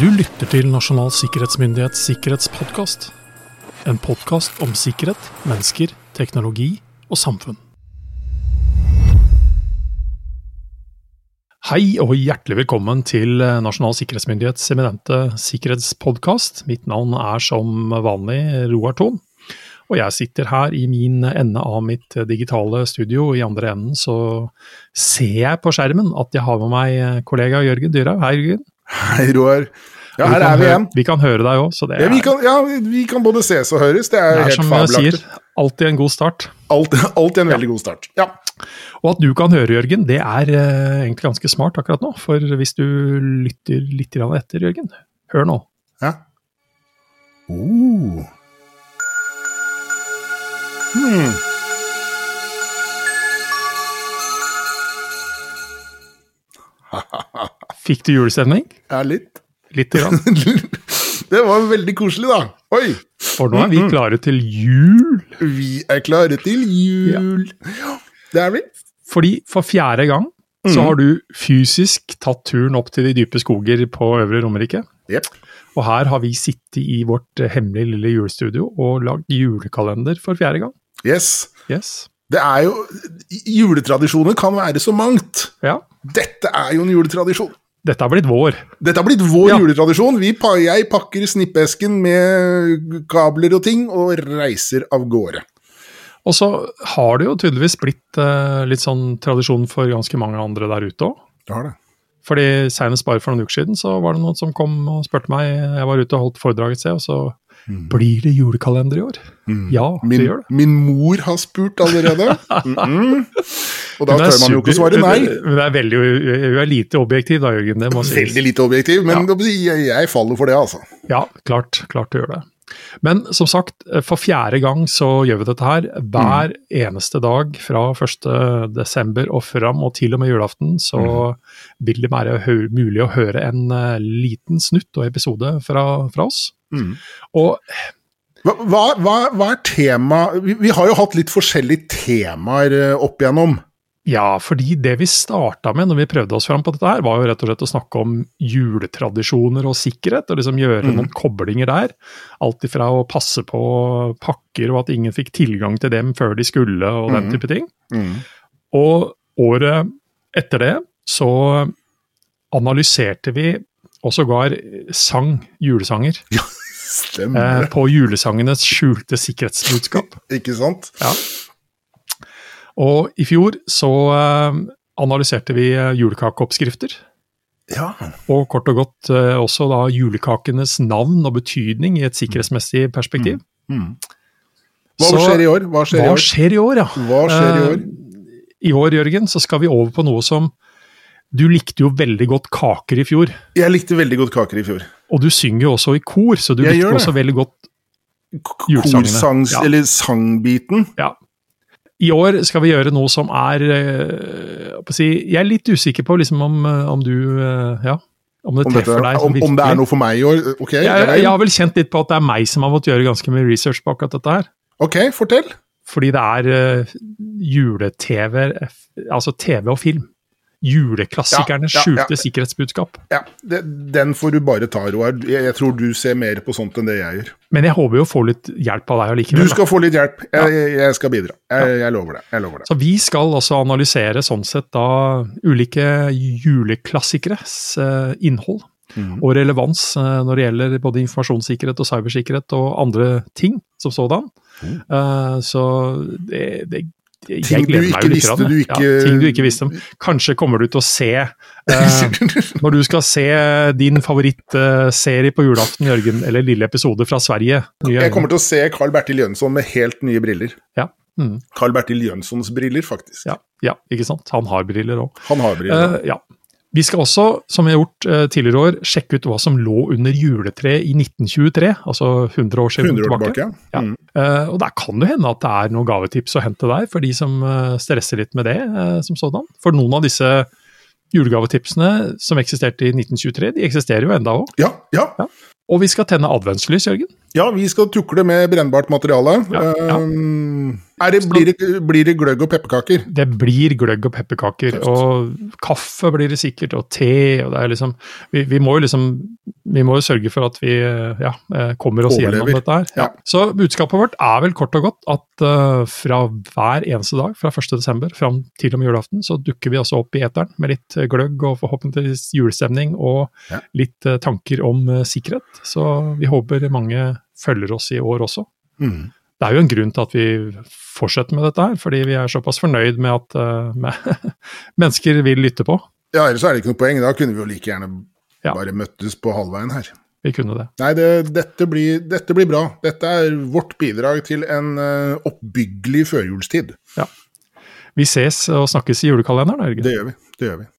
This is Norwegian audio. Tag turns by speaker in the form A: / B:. A: Du lytter til Nasjonal sikkerhetsmyndighets sikkerhetspodkast. En podkast om sikkerhet, mennesker, teknologi og samfunn. Hei og hjertelig velkommen til Nasjonal sikkerhetsmyndighets eminente sikkerhetspodkast. Mitt navn er som vanlig Roar Thon. Og jeg sitter her i min ende av mitt digitale studio. I andre enden så ser jeg på skjermen at jeg har med meg kollega Jørgen Dyrhaug. Hei, Jørgen.
B: Hei, Roar. Ja,
A: Og
B: her
A: kan
B: er vi
A: hø-
B: igjen.
A: Vi kan høre deg òg, så det er,
B: Ja vi, kan, ja, vi kan både ses og høres. Det er,
A: det er
B: helt
A: som jeg sier,
B: fabelaktig.
A: alltid en god start.
B: Alt, alt er en veldig god start. Ja.
A: Og at du kan høre, Jørgen, det er eh, egentlig ganske smart akkurat nå. For hvis du lytter litt grann etter, Jørgen, hør nå.
B: ja. Oh. Hmm.
A: Fikk du julestemning?
B: Ja, litt.
A: Litt grann.
B: Det var veldig koselig, da. Oi!
A: For nå er
B: Mm,
A: vi klare til jul.
B: Vi er klare til jul. Ja, Det er vi.
A: Fordi for fjerde gang
B: Mm.
A: så har du fysisk tatt turen opp til de dype skoger på Øvre Romerike.
B: Jepp.
A: Og her har vi sittet i vårt eh, hemmelige lille julestudio og lagd julekalender for fjerde gang.
B: Yes.
A: Yes.
B: Det er jo Juletradisjoner kan være så mangt.
A: Ja.
B: Dette er jo en juletradisjon.
A: Dette har blitt vår.
B: Dette har blitt vår
A: Ja.
B: juletradisjon. Vi, pa- jeg pakker snippesken med kabler og ting og reiser av gårde.
A: Og så har det jo tydeligvis blitt eh, litt sånn tradisjon for ganske mange andre der ute òg.
B: Du har det.
A: Fordi Senest bare for noen uker siden så var det noen som kom og spurte meg. Jeg var ute og holdt foredrag et sted, og så Blir det julekalender i år? Ja,
B: Mm. Min,
A: det gjør det.
B: min mor har spurt allerede. Mhm. Og da
A: Hun er
B: tør man jo ikke å
A: super-
B: svare nei.
A: Hun er, veldig, hun er lite objektiv da, Jørgen. Det må sies.
B: Veldig lite objektiv, men jeg, jeg faller for det, altså.
A: Ja, klart, klart du gjør det. Men som sagt, for fjerde gang så gjør vi dette her. Hver eneste dag fra 1. desember og fram, og til og med julaften, så vil det være hø- mulig å høre en eh, liten snutt og episode fra, fra oss.
B: Mhm.
A: Og
B: Hva, hva, hva, hva er tema vi, vi har jo hatt litt forskjellige temaer eh, opp igjennom.
A: ja, fordi det vi starta med når vi prøvde oss fram på dette her, var jo rett og slett å snakke om juletradisjoner og sikkerhet, og liksom gjøre noen koblinger der. Alt ifra å passe på pakker og at ingen fikk tilgang til dem før de skulle, og den type ting. Og året etter det så analyserte vi og sågar sang julesanger eh,
B: Stemmer
A: på julesangenes skjulte sikkerhetsbudskap.
B: det, ikke sant?
A: Ja. Og i fjor så eh, analyserte vi eh, julekakeoppskrifter.
B: Ja.
A: Og kort og godt eh, også da julekakenes navn og betydning i et sikkerhetsmessig perspektiv.
B: Hva
A: Mm. Så-
B: skjer i år? Mm. Hva skjer i
A: Hva
B: år?
A: skjer i år, ja?
B: Hva skjer i år?
A: Eh, I år, Jørgen, så skal vi over på noe som Du likte jo veldig godt kaker i fjor.
B: Jeg likte veldig godt kaker i fjor.
A: Og du synger jo også i kor, så du
B: Jeg
A: likte
B: gjør det.
A: også veldig godt
B: K-
A: Julesangene.
B: Korsangs,
A: Ja.
B: eller sangbiten.
A: ja. I år skal vi gjøre noe som er eh, hva skal jeg si, Jeg er litt usikker på liksom, om, eh, om du eh, Ja, om det
B: Om, dette,
A: treffer deg. som
B: om, om det
A: virkelig.
B: er noe for meg i år? eh, Ok,
A: jeg,
B: greit.
A: jeg har vel kjent litt på at det er meg som har måttet gjøre ganske mye research på akkurat dette her.
B: ok fortell.
A: Fordi det er eh, jule-TV, altså TV og film. Juleklassikernes
B: Ja, ja, ja.
A: skjulte sikkerhetsbudskap.
B: Ja, det, den får du bare ta, Roar. Jeg, jeg tror du ser mer på sånt enn det jeg gjør.
A: Men jeg håper jo å få litt hjelp av deg
B: Du
A: allikevel. da.
B: skal få litt hjelp. Jeg, jeg, jeg skal bidra. Jeg, jeg lover det. Jeg lover det.
A: Så vi skal også analysere sånn sett da ulike juleklassikeres eh, innhold
B: Mhm.
A: og relevans eh, når det gjelder både informasjonssikkerhet og cybersikkerhet og andre ting som sådan. Eh, så det, det det- jeg
B: Mhm. Ting du
A: gleder meg jo
B: ikke
A: litt
B: visste
A: grann,
B: du
A: jeg.
B: ikke-
A: ja, Ting du ikke visste om. Kanskje kommer du til å se eh, Når du skal se din favorittserie på julaften, Jørgen, eller lille episode fra Sverige nye
B: Jeg kommer til å se Carl Bertil Jønsson med helt nye briller.
A: ja. Mm,
B: Carl Bertil Jønssons briller, faktisk.
A: ja, ja, ikke sant? Han har briller òg.
B: Han har briller.
A: Eh, ja. Vi skal også, som vi har gjort eh, tidligere år, sjekke ut hva som lå under juletreet i 1923. Altså 100 år siden
B: 100 år
A: tilbake.
B: tilbake.
A: Ja.
B: Mm.
A: Eh, og der kan det hende at det er noen gavetips å hente der, for de som eh, stresser litt med det eh, som sådan. For noen av disse julegavetipsene som eksisterte i 1923, de eksisterer jo enda òg.
B: Ja, ja.
A: Ja. Og vi skal tenne adventslys, Jørgen.
B: ja, vi skal tukle med brennbart materiale.
A: Ja, ja.
B: Ehm, Er det, blir, det, blir det gløgg og pepperkaker?
A: Det blir gløgg og pepperkaker,
B: Tøft.
A: og kaffe blir det sikkert, og te, og det er liksom Vi, vi må jo liksom vi må jo sørge for at vi ja, eh, kommer oss
B: Overlever.
A: gjennom dette her.
B: Ja.
A: Så budskapet vårt er vel kort og godt at eh, fra hver eneste dag, fra 1.12. fram til og med julaften, så dukker vi altså opp i eteren med litt eh, gløgg og forhåpentligvis julestemning og
B: Ja.
A: litt eh, tanker om eh, sikkerhet. Så vi håper mange følger oss i år også.
B: Mm.
A: Det er jo en grunn til at vi fortsetter med dette her, fordi vi er såpass fornøyd med at eh, med mennesker vil lytte på.
B: Ja, ellers er det ikke noe poeng. Da kunne vi jo like gjerne
A: Ja.
B: bare møttes på halvveien her.
A: Vi kunne det.
B: Nei, det, dette, blir, dette blir bra. Dette er vårt bidrag til en eh, oppbyggelig førjulstid.
A: Vi ses og snakkes i julekalenderen, Jørgen.
B: Det gjør vi. Det gjør vi.